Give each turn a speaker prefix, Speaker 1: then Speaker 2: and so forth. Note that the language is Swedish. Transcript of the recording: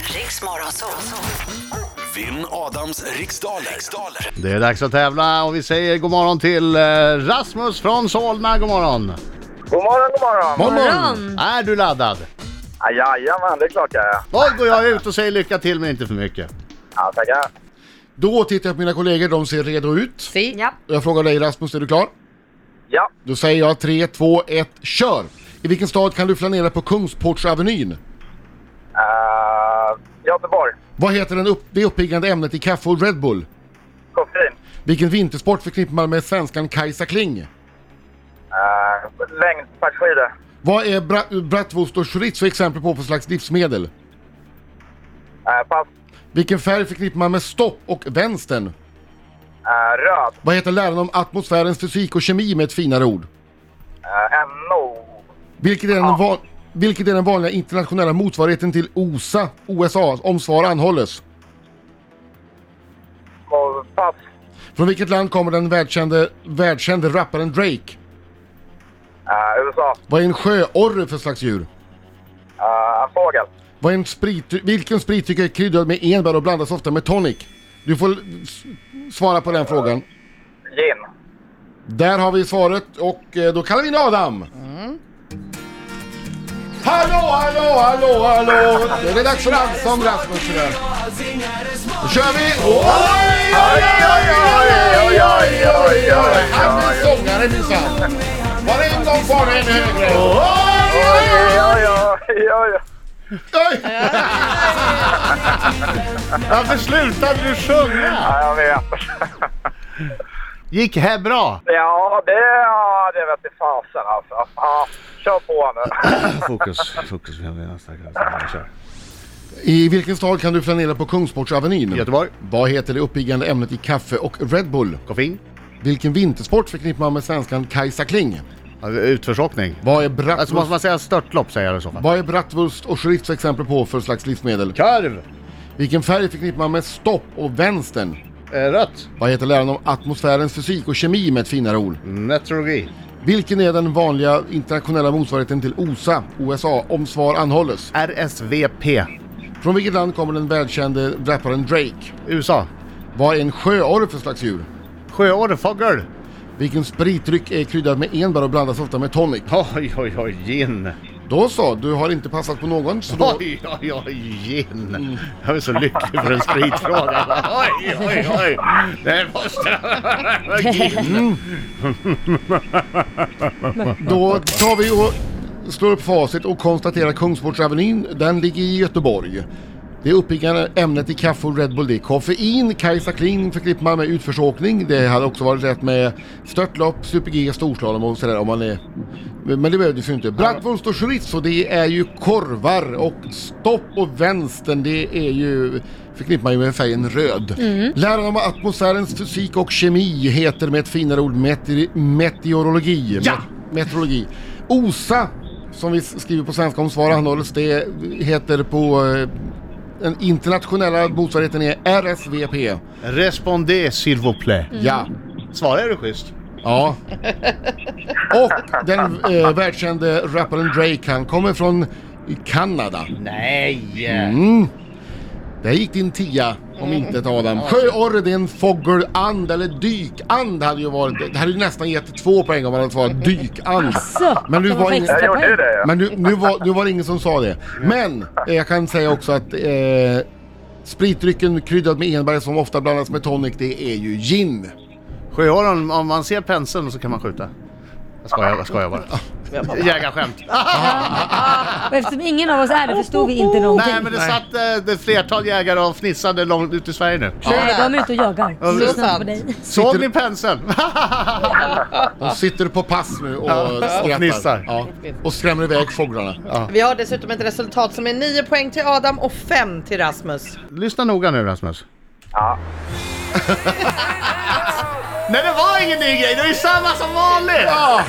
Speaker 1: Riks Morgonzoo.
Speaker 2: Vinn Adams riksdaler. riksdaler.
Speaker 3: Det är dags att tävla och vi säger god morgon till eh, Rasmus från Solna. God morgon!
Speaker 4: God morgon, god morgon!
Speaker 5: Morgon!
Speaker 3: Är du laddad?
Speaker 4: Ah, Jajamän, det är klart jag är.
Speaker 3: Då går jag ut och säger lycka till men inte för mycket.
Speaker 4: Ja, tackar.
Speaker 5: Då tittar jag på mina kollegor, de ser redo ut.
Speaker 6: Si.
Speaker 7: Ja.
Speaker 5: Jag frågar dig Rasmus, är du klar?
Speaker 4: Ja,
Speaker 5: Då säger jag 3, 2, 1, kör! I vilken stad kan du flanera på Kungsportsavenyn?
Speaker 4: uh, Göteborg.
Speaker 5: Vad heter den upp, det uppiggande ämnet i kaffe och Red Bull?
Speaker 4: Koffein.
Speaker 5: Vilken vintersport förknippar man med svenskan Kajsa Kling?
Speaker 4: Uh, Längdpackskidor.
Speaker 5: Vad är bra, bratwurst och chorizo exempel på för slags livsmedel?
Speaker 4: Uh, pass.
Speaker 5: Vilken färg förknippar man med stopp och vänstern?
Speaker 4: Uh, röd.
Speaker 5: Vad heter läraren om atmosfärens fysik och kemi med ett finare ord?
Speaker 4: Uh, NO.
Speaker 5: Vilket är, den va- vilket är den vanliga internationella motsvarigheten till OSA, OSA, om svar anhålles?
Speaker 4: Och Pass.
Speaker 5: Från vilket land kommer den världskände, världskände rapparen Drake?
Speaker 4: Uh, USA.
Speaker 5: Vad är en sjöorre för slags djur?
Speaker 4: Uh, en fågel.
Speaker 5: Vad är en sprit, vilken spritdryck är kryddad med enbär och blandas ofta med tonic? Du får l- s- svara på den frågan.
Speaker 4: Gin.
Speaker 5: Där har vi svaret och eh, då kallar vi in Adam! Hallå, hallå, hallå, hallå! Det är dags för allsång Rasmus. sådär. Då kör vi! Oj, oj, oj, oj, oj, oj, oj, oj! Han blir sångare minsann. Var det en gång var det en högre. Oj, oj, oj.
Speaker 4: Ja, ja, ja, ja.
Speaker 5: Oj!
Speaker 3: Varför slutade du sjunga?
Speaker 4: Ja, jag vet.
Speaker 3: Gick här bra?
Speaker 4: ja, det, ja, det vet i fasen alltså. Ja, kör på nu.
Speaker 3: Fokus, fokus. Jag menar stackars. Kör.
Speaker 5: I vilken stad kan du flanera på Kungsportsavenyn?
Speaker 3: Göteborg,
Speaker 5: Vad heter det uppiggande ämnet i kaffe och Red Bull?
Speaker 3: koffein,
Speaker 5: Vilken vintersport förknippar man med svenskan Kajsa Kling?
Speaker 3: utförsåkning.
Speaker 5: Vad är
Speaker 3: Alltså måste
Speaker 5: bratwurst,
Speaker 3: man säga störtlopp säger jag i så fall.
Speaker 5: vad är bratwurst och chorizo exempel på för slags livsmedel?
Speaker 3: Korv,
Speaker 5: Vilken färg förknippar man med stopp och vänstern?
Speaker 3: eh, rött,
Speaker 5: Vad heter läran om atmosfärens fysik och kemi med ett finare ord?
Speaker 3: meteorologi,
Speaker 5: Vilken är den vanliga internationella motsvarigheten till OSA, USA, om svar anhålles?
Speaker 3: RSVP,
Speaker 5: Från vilket land kommer den välkände rapparen Drake?
Speaker 3: USA,
Speaker 5: Vad är en sjöorre för slags djur?
Speaker 3: sjöorrfågel.
Speaker 5: Vilken spritdryck är kryddad med enbär och blandas ofta med tonic?
Speaker 3: Oj, oj, oj, gin.
Speaker 5: Då så, du har inte passat på någon så då...
Speaker 3: Oj, oj, oj, gin. Jag är så lycklig för en spritfråga. Oj, oj, oj. Det måste vara gin.
Speaker 5: Då tar vi och slår upp facit och konstaterar Kungsportsavenyn, den ligger i Göteborg. Det uppiggande ämnet i kaffe och Red Bull det är koffein, Kajsa Kling förknippar man med utförsåkning. Det hade också varit rätt med störtlopp, super-G, storslalom och sådär om man är... Men det behövdes ju inte. Bratwurst och chorizo det är ju korvar och stopp och vänstern det är ju förknippar man ju med färgen röd. Läran om atmosfärens fysik och kemi heter med ett finare ord meteri- meteorologi.
Speaker 3: Ja!
Speaker 5: Meteorologi. OSA, som vi skriver på svenska om svar anhålles, det heter på... eh, Den internationella motsvarigheten är RSVP.
Speaker 3: Respondez, s'il vous plaît.
Speaker 5: Ja.
Speaker 3: Svarar du schysst?
Speaker 5: Ja. Och den eh, världskände rapparen Drake, han kommer från Kanada.
Speaker 3: Nej!
Speaker 5: Mm. Där gick din tia, om inte ett Adam. Sjöorre, det är en fågeland eller dykand hade ju varit. Det hade ju nästan gett två poäng om man hade svarat dykand.
Speaker 6: Så,
Speaker 5: Men du
Speaker 6: de
Speaker 5: var
Speaker 6: har
Speaker 5: ingen-
Speaker 6: extra
Speaker 4: Jag gjorde ju
Speaker 6: poäng.
Speaker 4: det ja.
Speaker 5: Men du, nu, var, nu var det ingen som sa det. Men eh, jag kan säga också att eh, spritdrycken kryddad med enbär som ofta blandas med tonic, det är ju gin.
Speaker 3: Sjöorren, om man ser penseln så kan man skjuta. Jag skojar, jag skojar bara. Jägarskämt.
Speaker 6: Och eftersom ingen av oss är det förstod vi inte någonting.
Speaker 3: Nej men det satt eh, ett flertal jägare och fnissade långt ut i Sverige nu.
Speaker 6: Nej, de är ute och jagar.
Speaker 3: Så
Speaker 6: De lyssnar inte på
Speaker 8: sant.
Speaker 6: dig.
Speaker 3: Såg ni penseln?
Speaker 5: De sitter på pass nu och
Speaker 3: Ja, och
Speaker 5: skrattar.
Speaker 3: fnissar.
Speaker 5: Ja, och skrämmer iväg fåglarna.
Speaker 8: Vi har dessutom ett resultat som är 9 poäng till Adam och 5 till Rasmus.
Speaker 3: Lyssna noga nu Rasmus.
Speaker 4: Ja.
Speaker 3: Nej det var ingen ny grej, det är ju samma som vanligt! Ja.